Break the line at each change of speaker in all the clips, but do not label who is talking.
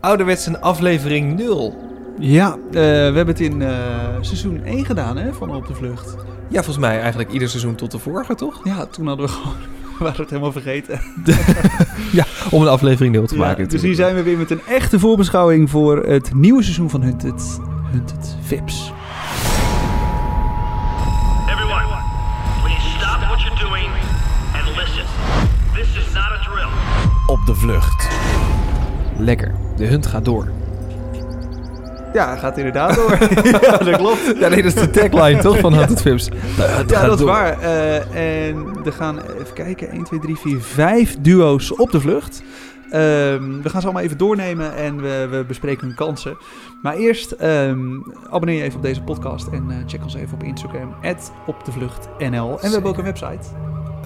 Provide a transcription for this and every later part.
ouderwets een aflevering 0.
Ja, eh, we hebben het in eh, seizoen 1 gedaan hè, van Op de Vlucht.
Ja, volgens mij eigenlijk ieder seizoen tot de vorige, toch?
Ja, toen hadden we gewoon... We waren het helemaal vergeten.
Om een aflevering 0 te
Ja,
maken.
dus hier zijn we weer met een echte voorbeschouwing voor het nieuwe seizoen van Hunted, Hunted Vips.
Everyone, please stop what you're doing and listen. This is not a drill.
Op de vlucht.
Lekker. De hunt gaat door.
Ja, gaat inderdaad door. ja, dat klopt.
Ja, nee, dat is de tagline toch van Hunted Films. De hunt
Ja,
gaat
dat is
door.
waar. Eh, en er gaan, even kijken, 1, 2, 3, 4, 5 duo's op de vlucht. Ehm, we gaan ze allemaal even doornemen en we, we bespreken hun kansen. Maar eerst ehm, abonneer je even op deze podcast en eh, check ons even op Instagram, opdevluchtnl. En we hebben ook een website,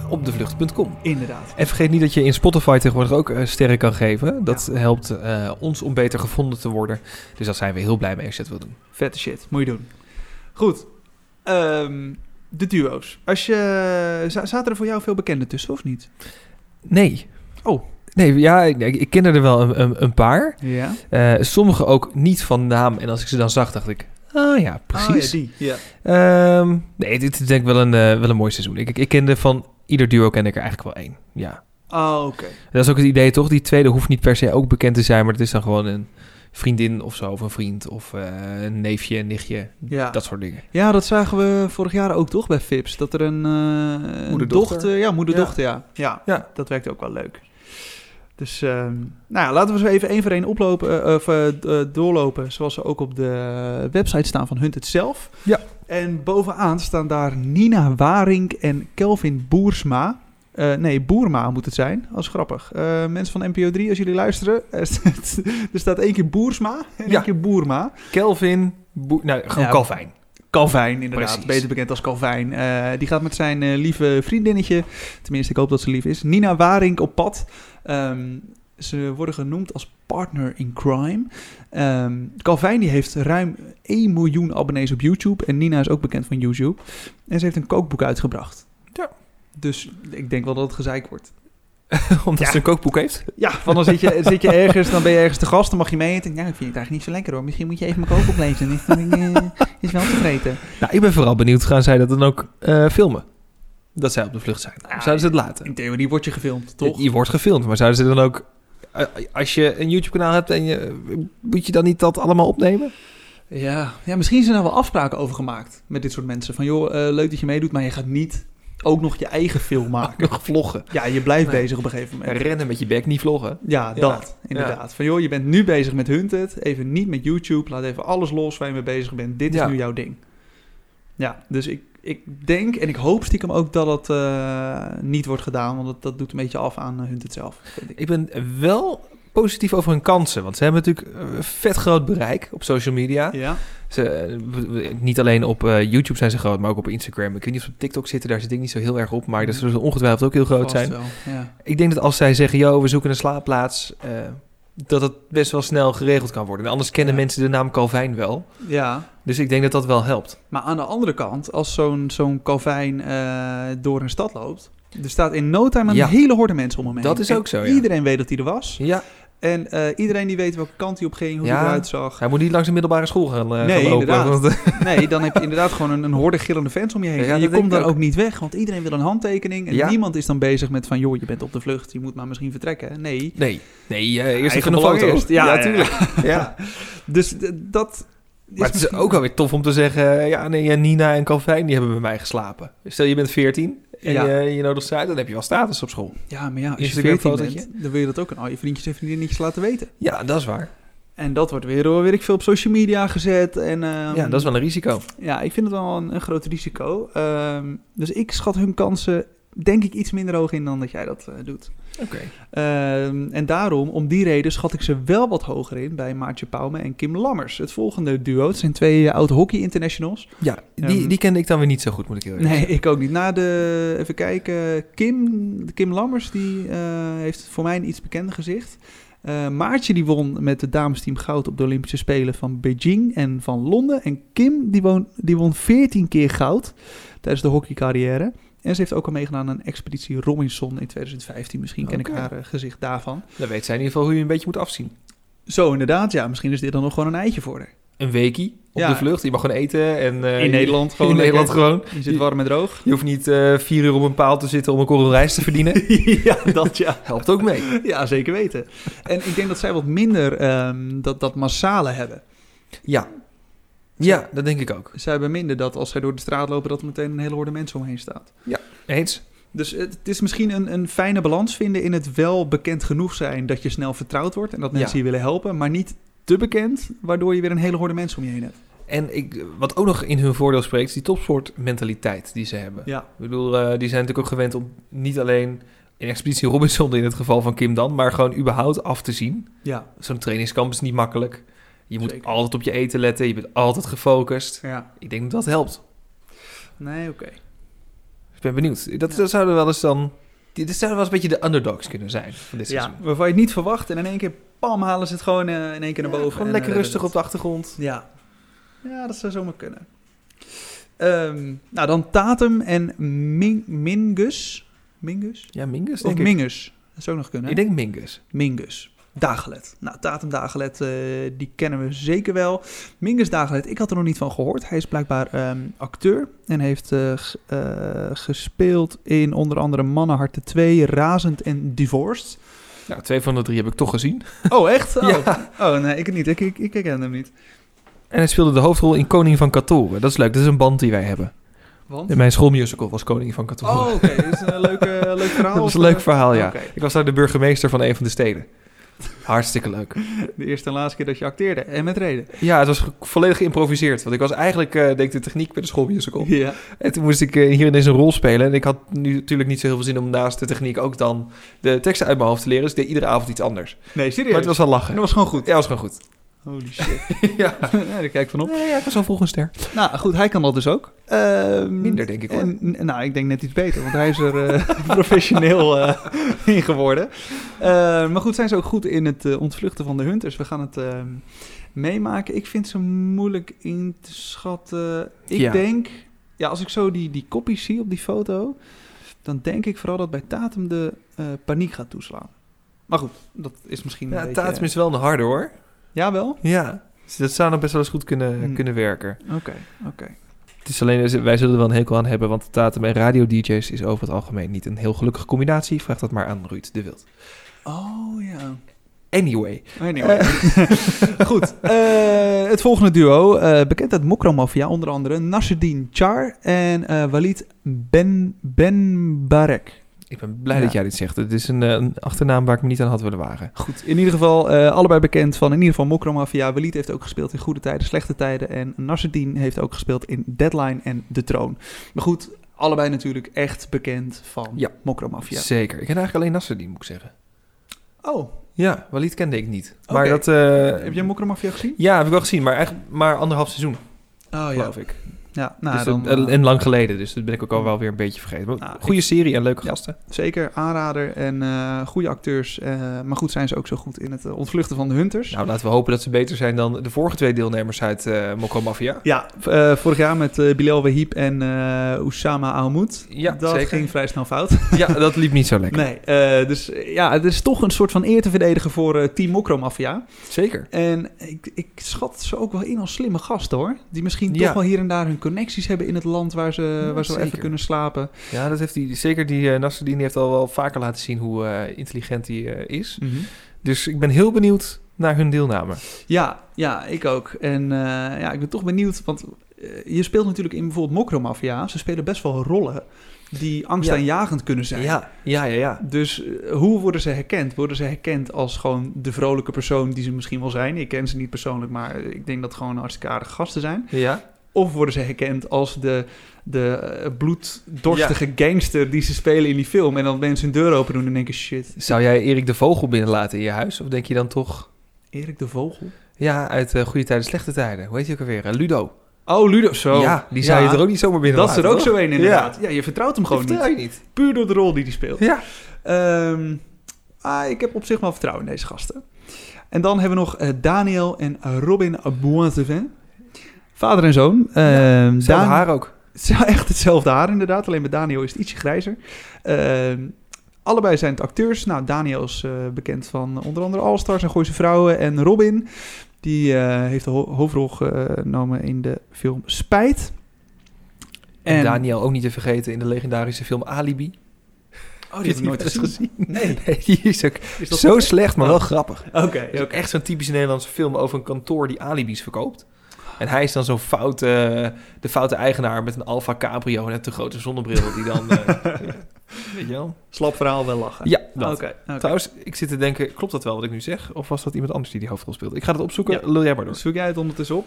Op de vlucht.com.
inderdaad.
En vergeet niet dat je in Spotify tegenwoordig ook eh, sterren kan geven. Dat helpt eh, ons om beter gevonden te worden. Dus daar zijn we heel blij mee als je dat wil doen.
Vette shit, moet je doen. Goed, Ehm, de duo's. Als je, za- zaten er voor jou veel bekenden tussen, of niet?
Nee.
Oh.
Nee, ja, ik, ik ken er wel een, een, een paar.
Ja,
Eh, sommige ook niet van naam. En als ik ze dan zag, dacht ik... Ah ja, precies.
precies. die. Ja.
Ehm, nee, dit is denk ik wel een, eh, wel een mooi seizoen. Ik, ik, ik kende van ieder duo ken ik er eigenlijk wel één. Ja.
Oh, oké.
Dat is ook het idee, toch? Die tweede hoeft niet per se ook bekend te zijn, maar het is dan gewoon een vriendin of zo, of een vriend, of eh, een neefje, een nichtje,
Ja.
dat soort dingen.
Ja, dat zagen we vorig jaar ook toch bij Fips. Dat er een, eh, een
Moeder-dochter.
Ja, moeder-dochter, ja. Ja.
Ja.
dat werkt ook wel leuk. Dus ehm, nou ja, laten we ze even één voor één oplopen, eh, of, eh, d- eh, doorlopen. Zoals ze ook op de website staan van Hunt het zelf.
Ja.
En bovenaan staan daar Nina Waring en Kelvin Boersma. Eh, nee, Boerma moet het zijn. Als grappig. Eh, mensen van NPO 3, als jullie luisteren. er staat- er staat één keer Boersma en
Ja.
één keer Boerma.
Kelvin, Boe- nou, gewoon
Ja.
Calvin.
Calvin, inderdaad.
Precies.
Beter bekend als Calvin. Eh, die gaat met zijn eh, lieve vriendinnetje, tenminste ik hoop dat ze lief is, Nina Waring op pad. Ehm, ze worden genoemd als partner in crime. Ehm Calvin die heeft ruim 1 miljoen abonnees op YouTube. En Nina is ook bekend van YouTube. En ze heeft een kookboek uitgebracht.
Ja.
Dus ik denk wel dat het gezeik wordt.
Omdat ze een kookboek heeft.
Ja, van dan zit je, zit je ergens, dan ben je ergens te gast, dan mag je mee eten. Nou, ik vind het eigenlijk niet zo lekker hoor. Misschien moet je even mijn kookboek lezen. Is, dan, eh, is wel tevreden.
Nou, ik ben vooral benieuwd, gaan zij dat dan ook eh, filmen? Dat zij op de vlucht zijn.
Ah,
zouden ze het laten?
In theorie wordt je gefilmd, toch?
Je wordt gefilmd, maar zouden ze dan ook... eh, Als je een YouTube-kanaal hebt en je... Moet je dan niet dat allemaal opnemen?
Ja, ja misschien zijn er wel afspraken over gemaakt met dit soort mensen. Van joh, eh, leuk dat je meedoet, maar je gaat niet ook nog je eigen film maken.
Nog vloggen.
Ja, je blijft
Nee.
bezig op een gegeven moment.
Rennen met je bek, niet vloggen.
Ja,
Ja.
dat, inderdaad. Van joh, je bent nu bezig met Hunted, even niet met YouTube. Laat even alles los waar je mee bezig bent. Dit
Ja.
is nu jouw ding. Ja, dus ik, ik denk en ik hoop stiekem ook dat het eh, niet wordt gedaan. Want dat, dat doet een beetje af aan eh, Hunted zelf, vind ik.
Ik ben wel positief over hun kansen. Want ze hebben natuurlijk eh, vet groot bereik op social media.
Ja,
Ze, eh, w- w- niet alleen op eh, YouTube zijn ze groot, maar ook op Instagram. Ik weet niet of ze op TikTok zitten, daar zit ik niet zo heel erg op. Maar dat zullen ze ongetwijfeld ook heel groot
vast
zijn.
wel, Ja.
Ik denk dat als zij zeggen, yo, we zoeken een slaapplaats... eh, dat het best wel snel geregeld kan worden. En anders kennen
Ja.
mensen de naam Calvin wel.
ja,
Dus ik denk dat dat wel helpt.
Maar aan de andere kant, als zo'n zo'n kalvijn eh, door een stad loopt... Er staat in no time een
Ja.
hele horde mensen om hem heen.
Dat is
En
ook zo, ja.
Iedereen weet dat hij er was.
Ja,
En eh, iedereen die weet welke kant hij op ging, hoe
Ja.
hij eruit zag.
hij moet niet langs de middelbare school gaan, eh,
Nee,
gaan lopen.
inderdaad.
want, eh,
Nee, dan heb je inderdaad gewoon een, een horde gillende fans om je heen.
Ja,
en
dat
je
denk
komt
ik
dan ook.
ook.
niet weg, want iedereen wil een handtekening. En
Ja.
niemand is dan bezig met van, joh, je bent op de vlucht, je moet maar misschien vertrekken. Nee.
nee, nee eh, eerst
Eigen
even een
belang
foto.
eerst. Ja, ja.
ja.
Dus d- dat...
Maar het is
misschien-
ook alweer tof om te zeggen, eh, ja, nee, ja, Nina en Calvin die hebben bij mij geslapen. Stel je bent 14 en
Ja.
je, je nodigt ze uit, dan heb je wel status op school.
Ja, maar ja, als je
Instagram
14
fotootje.
bent, dan wil je dat ook aan al je vriendjes en vriendinnetjes laten weten.
Ja, dat is waar.
En dat wordt weer, door, weet ik veel, op social media gezet. En, ehm,
ja, dat is wel een risico.
Ja, ik vind het wel een, een groot risico. Ehm, dus ik schat hun kansen denk ik iets minder hoog in dan dat jij dat eh, doet.
Oké.
Ehm, en daarom, om die reden, schat ik ze wel wat hoger in bij Maartje Pauwme en Kim Lammers. Het volgende duo, het zijn twee eh, oud hockey internationals.
Ja, die,
Ehm,
die kende ik dan weer niet zo goed, moet ik heel eerlijk
Nee,
zeggen.
ik ook niet. Na de, even kijken, Kim, Kim Lammers die eh, heeft voor mij een iets bekender gezicht. Eh, Maartje die won met het damesteam goud op de Olympische Spelen van Beijing en van Londen. En Kim die won, die won 14 keer goud tijdens de hockeycarrière. En ze heeft ook al meegedaan aan expeditie Robinson in 2015. Misschien ken
Oké.
ik haar eh, gezicht daarvan.
Dan weet zij in ieder geval hoe je een beetje moet afzien.
Zo inderdaad, ja. Misschien is dit dan nog gewoon een eitje voor haar.
Een weekie op
Ja.
de vlucht. Je mag gewoon eten. En, eh,
In Nederland gewoon
In Nederland
lekker.
gewoon.
Je zit warm en droog.
Je hoeft niet eh, vier uur op een paal te zitten om een korrel rijst te verdienen.
ja, dat ja.
Helpt ook mee.
Ja, zeker weten. En ik denk dat zij wat minder ehm, dat, dat massale hebben.
Ja. Ja, dat denk ik ook.
Zij hebben minder dat als zij door de straat lopen, dat er meteen een hele horde mensen omheen staat.
Eens?
Dus het, het is misschien een, een fijne balans vinden in het wel bekend genoeg zijn dat je snel vertrouwd wordt en dat mensen
Ja.
je willen helpen, maar niet te bekend, waardoor je weer een hele horde mensen om je heen hebt.
En ik, wat ook nog in hun voordeel spreekt, is die topsportmentaliteit die ze hebben.
Ja,
Ik bedoel, eh, die zijn natuurlijk ook gewend om niet alleen in Expeditie Robinson in het geval van Kim dan, maar gewoon überhaupt af te zien.
ja,
Zo'n trainingskamp is niet makkelijk. Je moet
Zeker.
altijd op je eten letten, je bent altijd gefocust.
ja.
Ik denk dat dat helpt.
Nee, oké.
Ik ben benieuwd. Dat,
Ja.
dat zouden wel eens dan... Dit dit zouden wel eens een beetje de underdogs kunnen zijn van dit
Ja,
seizoen.
waarvan je het niet verwacht en in één keer, pam, halen ze het gewoon eh, in één keer naar boven.
Ja, gewoon
en,
lekker
eh,
rustig
redden
op de achtergrond.
het. Ja. ja, dat zou zomaar kunnen. Ehm, nou, dan Tatum en Ming- Mingus. Mingus?
Ja, Mingus
Of
denk ik.
Mingus. Dat zou ook nog kunnen. hè?
Ik denk Mingus.
Mingus. Dagelet. Nou, Tatum Dagelet, eh, die kennen we zeker wel. Mingus Dagelet, ik had er nog niet van gehoord. Hij is blijkbaar ehm, acteur en heeft eh, g- eh, gespeeld in onder andere Mannenharten 2, Razend en Divorced.
Nou, twee van de drie heb ik toch gezien.
Oh, echt? Oh,
Ja.
oh nee, ik het niet. Ik, ik, ik herken hem niet.
En hij speelde de hoofdrol in Koning van Katoren. Dat is leuk, dat is een band die wij hebben.
Want?
In mijn schoolmusical was Koning van Katoren.
Oh, oké. Dat is een leuk, eh, leuk verhaal.
dat was een
of,
leuk
eh,
verhaal, ja.
Oké.
Ik was daar de burgemeester van een van de steden. Hartstikke leuk.
De eerste en laatste keer dat je acteerde. En met reden.
Ja, het was ge- volledig geïmproviseerd. Want ik was eigenlijk, eh denk ik, de techniek bij de schoolmusical.
Ja.
En toen moest ik eh, hier ineens een rol spelen. En ik had nu natuurlijk niet zo heel veel zin om naast de techniek ook dan de teksten uit mijn hoofd te leren. Dus ik deed iedere avond iets anders.
Nee, serieus.
Maar het was wel
En
lachen.
dat was gewoon goed.
Ja, was gewoon goed.
Holy shit.
ja.
ja, daar kijk ik van op.
Nee, ja, ik was al vroeg een ster.
Nou goed, hij kan dat dus ook. Ehm,
Minder, denk ik, hoor.
en- n- nou, ik denk net iets beter, want hij is er eh, professioneel eh, in geworden. Eh, maar goed, zijn ze ook goed in het eh, ontvluchten van de hunters. We gaan het ehm, meemaken. Ik vind ze moeilijk in te schatten. Ik
Ja.
denk, ja, als ik zo die, die koppies zie op die foto, dan denk ik vooral dat bij Tatum de eh, paniek gaat toeslaan. Maar goed, dat is misschien een
Ja,
beetje...
Tatum is wel een harde hoor.
Jawel?
Ja. Dus dat zou nog best wel eens goed kunnen,
Hmm.
kunnen werken.
Oké, oké.
Het is alleen, eh, wij zullen er wel een hekel aan hebben, want Tatum en radio-dj's is over het algemeen niet een heel gelukkige combinatie. Vraag dat maar aan Ruud de Wild.
Oh ja.
Anyway.
Anyway. Goed. eh, het volgende duo, eh, bekend uit Mokromafia, onder andere Nasreddin Char en eh, Walid Ben, ben Barek.
Ik ben blij
Ja.
dat jij dit zegt. Het is een, eh, een achternaam waar ik me niet aan had willen wagen.
Goed, in ieder geval eh, allebei bekend van in ieder geval Mokromafia. Walid heeft ook gespeeld in Goede Tijden, Slechte Tijden en Nasreddin heeft ook gespeeld in Deadline en De Troon. Maar goed, allebei natuurlijk echt bekend van
Ja.
Mokromafia.
Zeker. Ik ken eigenlijk alleen Nasreddin, moet ik zeggen.
Oh,
Ja, Walid kende ik niet.
Oké.
Maar dat... eh,
heb jij Mokromafia gezien?
Ja, heb ik wel gezien, maar eigenlijk maar anderhalf seizoen,
Oh
geloof ik.
Ja, nou,
dus
dan,
dat- en,
eh,
en lang geleden, dus dat ben ik ook al wel weer een beetje vergeten. Maar
Nou,
goede serie en leuke
Ja.
gasten.
Zeker, aanrader en eh, goede acteurs. eh, maar goed zijn ze ook zo goed in het eh, ontvluchten van de hunters.
Nou, laten we hopen dat ze beter zijn dan de vorige twee deelnemers uit eh Mokko Mafia.
Ja, v- eh, vorig jaar met eh, Bilal Wahib en eh Oussama Ahmoud.
Ja,
dat
zeker.
ging vrij snel fout.
Ja, dat liep niet zo lekker.
Nee, eh, dus eh, ja, het is toch een soort van eer te verdedigen voor eh, Team Mokromafia.
Zeker.
En ik, ik schat ze ook wel in als slimme gasten hoor. Die misschien
Ja.
toch wel hier en daar hun connecties hebben in het land waar ze,
Ja,
waar ze wel even
zeker.
kunnen slapen.
Ja, dat heeft hij, zeker die eh Nasreddin heeft al wel vaker laten zien hoe eh, intelligent hij eh, is. Dus ik ben heel benieuwd naar hun deelname.
Ja, ja, ik ook. En eh, ja, ik ben toch benieuwd, want eh, je speelt natuurlijk in bijvoorbeeld Mokromafia. Ze spelen best wel rollen die angstaanjagend kunnen zijn.
ja, ja, ja.
Dus eh, hoe worden ze herkend? Worden ze herkend als gewoon de vrolijke persoon die ze misschien wel zijn? Ik ken ze niet persoonlijk, maar ik denk dat het gewoon hartstikke aardige gasten zijn.
Ja,
Of worden ze herkend als de, de eh, bloeddorstige gangster die ze spelen in die film... en dan mensen hun deur open doen en denken... shit,
Zou jij Erik de Vogel binnenlaten in je huis? Of denk je dan toch...
Erik de Vogel?
Ja, uit eh, goede tijden, slechte tijden. Hoe heet hij ook alweer? Eh, Ludo.
Oh, Ludo, zo.
ja, die zou je
Ja,
er ook niet zomaar
Dat
binnenlaten.
is er ook
toch?
zo een inderdaad. Ja, je vertrouwt hem gewoon
Die
niet.
vertel je niet.
Puur door de rol die hij speelt.
Ja.
Ehm, ah, ik heb op zich wel vertrouwen in deze gasten. En dan hebben we nog eh, Daniel en Robin Boisevin. Vader en zoon. Ehm
Zelfde
Dan-
haar ook.
Ze- Echt hetzelfde haar inderdaad. Alleen bij Daniel is het ietsje grijzer. Ehm, Allebei zijn het acteurs. Nou, Daniel is eh, bekend van onder andere All-Stars en Gooise Vrouwen. En Robin, die eh, heeft de ho- hoofdrol genomen in de film Spijt.
En, Daniel ook niet te vergeten in de legendarische film Alibi.
Oh,
Heb je die wel eens
Nee.
Nee, die is ook
Is dat-
zo slecht, maar wel grappig.
Oké,
Het is ook echt zo'n typisch Nederlandse film over een kantoor die alibis verkoopt. En hij is dan zo'n foute, de foute eigenaar met een Alfa Cabrio en een te grote zonnebril die dan... eh, weet je wel?
Slap verhaal, wel lachen.
Ja,
Oké.
dat.
Ah, oké.
Trouwens, ik zit te denken, klopt dat wel wat ik nu zeg? Of was dat iemand anders die die hoofdrol speelde? Ik ga het opzoeken,
Ja.
lul jij maar door.
Zoek jij het ondertussen op?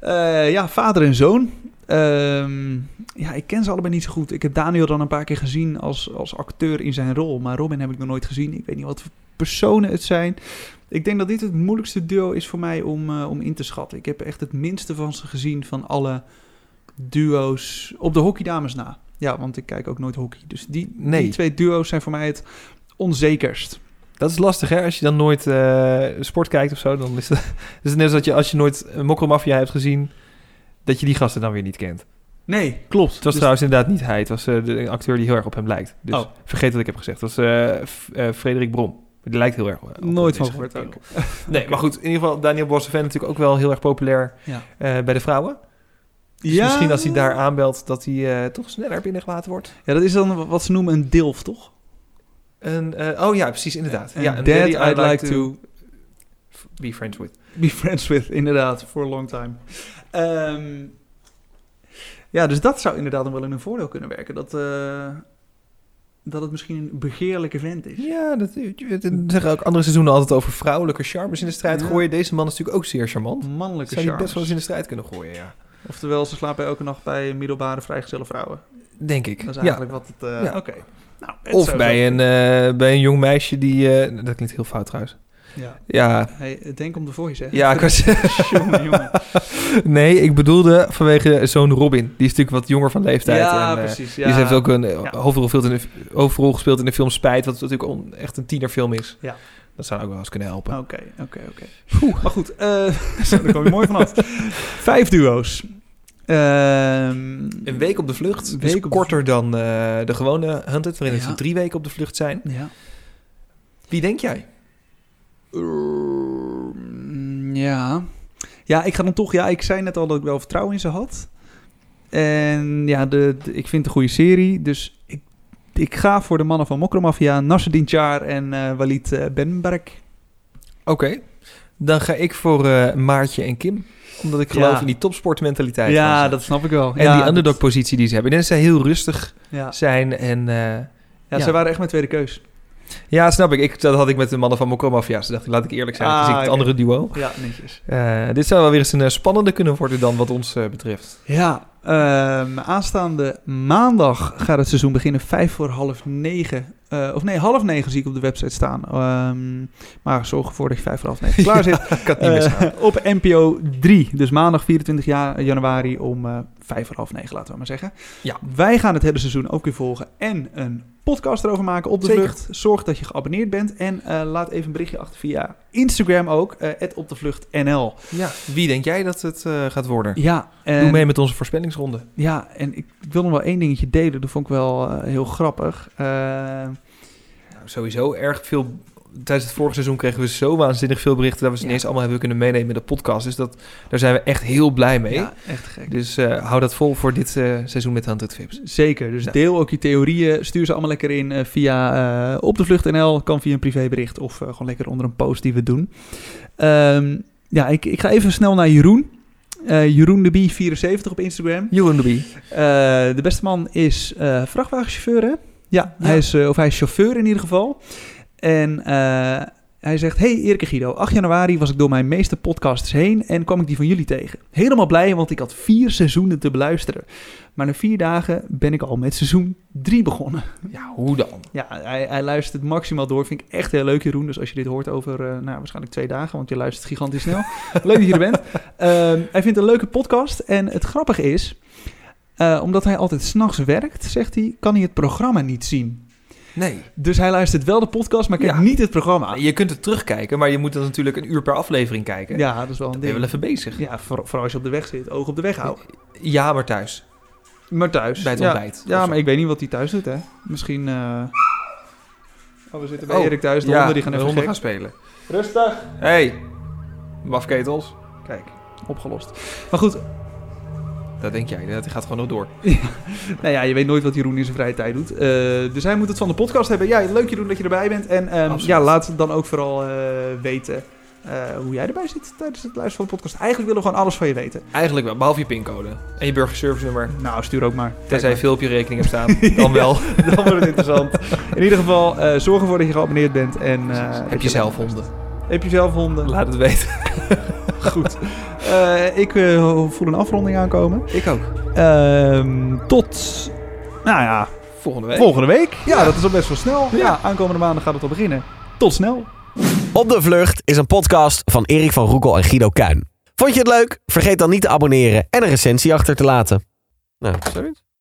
Eh, ja, vader en zoon. Ehm, ja, ik ken ze allebei niet zo goed. Ik heb Daniel dan een paar keer gezien als, als acteur in zijn rol. Maar Robin heb ik nog nooit gezien. Ik weet niet wat voor personen het zijn. Ik denk dat dit het moeilijkste duo is voor mij om, eh, om in te schatten. Ik heb echt het minste van ze gezien van alle duo's op de hockeydames na. Ja, want ik kijk ook nooit hockey. Dus die,
Nee.
die twee duo's zijn voor mij het onzekerst.
Dat is lastig hè, als je dan nooit eh, sport kijkt of zo. Dan is het, het is net als dat je, als je nooit eh, Mokkelmafia hebt gezien, dat je die gasten dan weer niet kent.
Nee, klopt. Dus
Het was trouwens inderdaad niet hij. Het was eh, de acteur die heel erg op hem lijkt. Dus
Oh.
vergeet wat ik heb gezegd. Dat was eh, F- eh, Frederik Brom. Die lijkt heel erg op op
Nooit van
deze
gehoord ook.
kerel. Nee, maar goed. In ieder geval, Daniel Bossevent natuurlijk ook wel heel erg populair
Ja.
eh, bij de vrouwen. Dus misschien als hij daar aanbelt, dat hij eh, toch sneller binnengelaten wordt.
Ja, dat is dan wat ze noemen een DILF, toch?
En, eh, oh ja, precies, inderdaad.
En
ja,
Dad,
een daddy
I'd like to
be friends with.
be friends with, inderdaad, for a long time. Ehm, ja, dus dat zou inderdaad nog wel in hun voordeel kunnen werken. Dat, eh, dat het misschien een begeerlijke vent is.
Ja, dat, eh, dat zeggen ook andere seizoenen altijd over vrouwelijke charmes in de strijd
Ja.
gooien. Deze man is natuurlijk ook zeer charmant.
Mannelijke
Zou je
charme.
best wel eens in de strijd kunnen gooien, ja.
Oftewel, ze slapen elke nacht bij middelbare vrijgezelle vrouwen.
Denk ik.
Dat is
ja.
eigenlijk wat het... eh,
Ja.
Oké. Nou, het
Of
zou
bij
zo-
een, eh, bij een jong meisje die... eh, dat klinkt heel fout trouwens.
Ja.
Ja,
Hey, denk om de voice, hè?
ja ik was-
jongen, jongen.
nee, ik bedoelde vanwege zoon Robin. Die is natuurlijk wat jonger van leeftijd.
Ja,
en, eh,
precies. Ja.
Die heeft ook een eh,
Ja.
hoofdrol, gespeeld in de, hoofdrol gespeeld in de film Spijt. Wat natuurlijk on- echt een tienerfilm is.
Ja.
Dat zou ook wel eens kunnen helpen.
Oké, oké, oké. Maar goed, eh zo, daar kwam je mooi vanaf. Vijf duo's. Ehm,
Een week op de vlucht.
Een
dus
week op de
korter dan eh, de gewone Hunted. Waarin
Ja.
het drie weken op de vlucht zijn.
Ja.
Wie denk jij?
Ehm, ja. Ja, ik ga dan toch... Ja, ik zei net al dat ik wel vertrouwen in ze had. En ja, de, de- ik vind het een goede serie. Dus ik, ik ga voor de mannen van Mokromafia, Nasreddin Char en eh, Walid eh, Benberk.
Oké. Dan ga ik voor eh, Maartje en Kim. Omdat ik geloof
Ja.
in die topsportmentaliteit. van ze.
Ja, dat snap ik wel.
En
ja,
die underdog-positie die ze hebben. Ik denk dat zij heel rustig
dat- Ja.
zijn. En, eh,
Ja,
Ja.
zij waren echt mijn tweede keus.
ja, snap ik. ik. Dat had ik met de mannen van Mokko Mafia. Ze dachten, laat ik eerlijk zijn.
Ah,
het is ik het
oké.
andere duo.
Ja, netjes.
Eh, dit zou wel weer eens een eh, spannende kunnen worden dan wat ons eh, betreft.
Ja, ehm, aanstaande maandag gaat het seizoen beginnen. Vijf voor half negen. Eh, of nee, half negen zie ik op de website staan. Ehm, maar zorg ervoor dat je vijf voor half negen klaar zit.
Ik kan het niet
Eh,
misgaan.
op NPO 3. Dus maandag 24 ja- januari om eh, vijf voor half negen, laten we maar zeggen.
Ja.
Wij gaan het hele seizoen ook weer volgen. En een podcast erover maken op de
Zeker.
vlucht. Zorg dat je geabonneerd bent. En eh, laat even een berichtje achter via Instagram ook. eh op de vlucht NL.
Ja, wie denk jij dat het eh, gaat worden?
Ja, en-
Doe mee met onze voorspellingsronde.
Ja, en ik ik wil nog wel één dingetje delen. Dat vond ik wel eh, heel grappig. Eh,
Nou, sowieso erg veel... Tijdens het vorige seizoen kregen we zo waanzinnig veel berichten... dat we ze
Ja.
ineens allemaal hebben kunnen meenemen in de podcast. Dus dat, daar zijn we echt heel blij mee.
Ja, echt gek.
Dus eh, hou dat vol voor dit eh, seizoen met Hunted Vips.
Zeker, dus
Ja.
deel ook je theorieën. Stuur ze allemaal lekker in eh, via eh op de vlucht.nl. Kan via een privébericht of eh, gewoon lekker onder een post die we doen. Ehm, ja, ik, ik ga even snel naar Jeroen. Eh, Jeroen de Bie 74 op Instagram.
Jeroen de Bie.
Eh, de beste man is eh, vrachtwagenchauffeur, hè? Ja,
Ja.
Hij is, eh, of hij is chauffeur in ieder geval. En eh, hij zegt, hey Erik en Guido, 8 januari was ik door mijn meeste podcasts heen en kwam ik die van jullie tegen. Helemaal blij, want ik had vier seizoenen te beluisteren. Maar na vier dagen ben ik al met seizoen 3 begonnen.
Ja, Nou, hoe dan?
Ja, hij, hij luistert maximaal door. Vind ik echt heel leuk, Jeroen. Dus als je dit hoort over, eh, nou, waarschijnlijk twee dagen, want je luistert gigantisch snel. leuk dat je er bent. Ehm, hij vindt het een leuke podcast. En het grappige is, eh, omdat hij altijd s'nachts werkt, zegt hij, kan hij het programma niet zien.
Nee.
Dus hij luistert wel de podcast, maar kijkt
Ja.
niet het programma.
Ah. Je kunt het terugkijken, maar je moet dan natuurlijk een uur per aflevering kijken.
Ja, dat is wel een
Dan ben je wel
ding.
even bezig.
Ja, voor- vooral als je op de weg zit, oog op de weg houden.
Ja, maar thuis.
Maar thuis.
Bij het
ja.
ontbijt.
Ja,
Of
maar ik weet niet wat hij thuis doet, hè. Misschien... eh, Oh, we zitten bij
Oh,
Erik thuis. De
ja,
honden die gaan
de
even
honden
gek.
gaan spelen.
Rustig.
Hey, mafketels.
Kijk, opgelost. Maar goed,
Dat denk jij, dat gaat gewoon nog door.
nou ja, je weet nooit wat Jeroen in zijn vrije tijd doet. Eh, dus hij moet het van de podcast hebben. Ja, leuk Jeroen dat je erbij bent. En ehm,
Absoluut.
ja, laat dan ook vooral eh, weten eh, hoe jij erbij zit tijdens het luisteren van de podcast. Eigenlijk willen we gewoon alles van je weten.
Eigenlijk wel, behalve je pincode en je burgerservice nummer.
Nou, stuur ook maar.
Tenzij je
Kijk
veel op je rekening hebt staan, dan wel.
maar. Dan wordt het interessant. In ieder geval, eh, zorg ervoor dat je geabonneerd bent. En, eh, dat
Heb je zelf honden?
Heb je zelf honden?
Laat het weten.
Goed. Eh, ik eh, voel een afronding aankomen.
Ik ook.
Ehm, tot, nou ja,
Volgende week.
volgende week. Ja, dat is al best wel snel. Ja. aankomende maandag gaat het al beginnen. Tot snel.
Op de Vlucht is een podcast van Erik van Roekel en Guido Kuin. Vond je het leuk? Vergeet dan niet te abonneren en een recensie achter te laten. Nou, zoiets.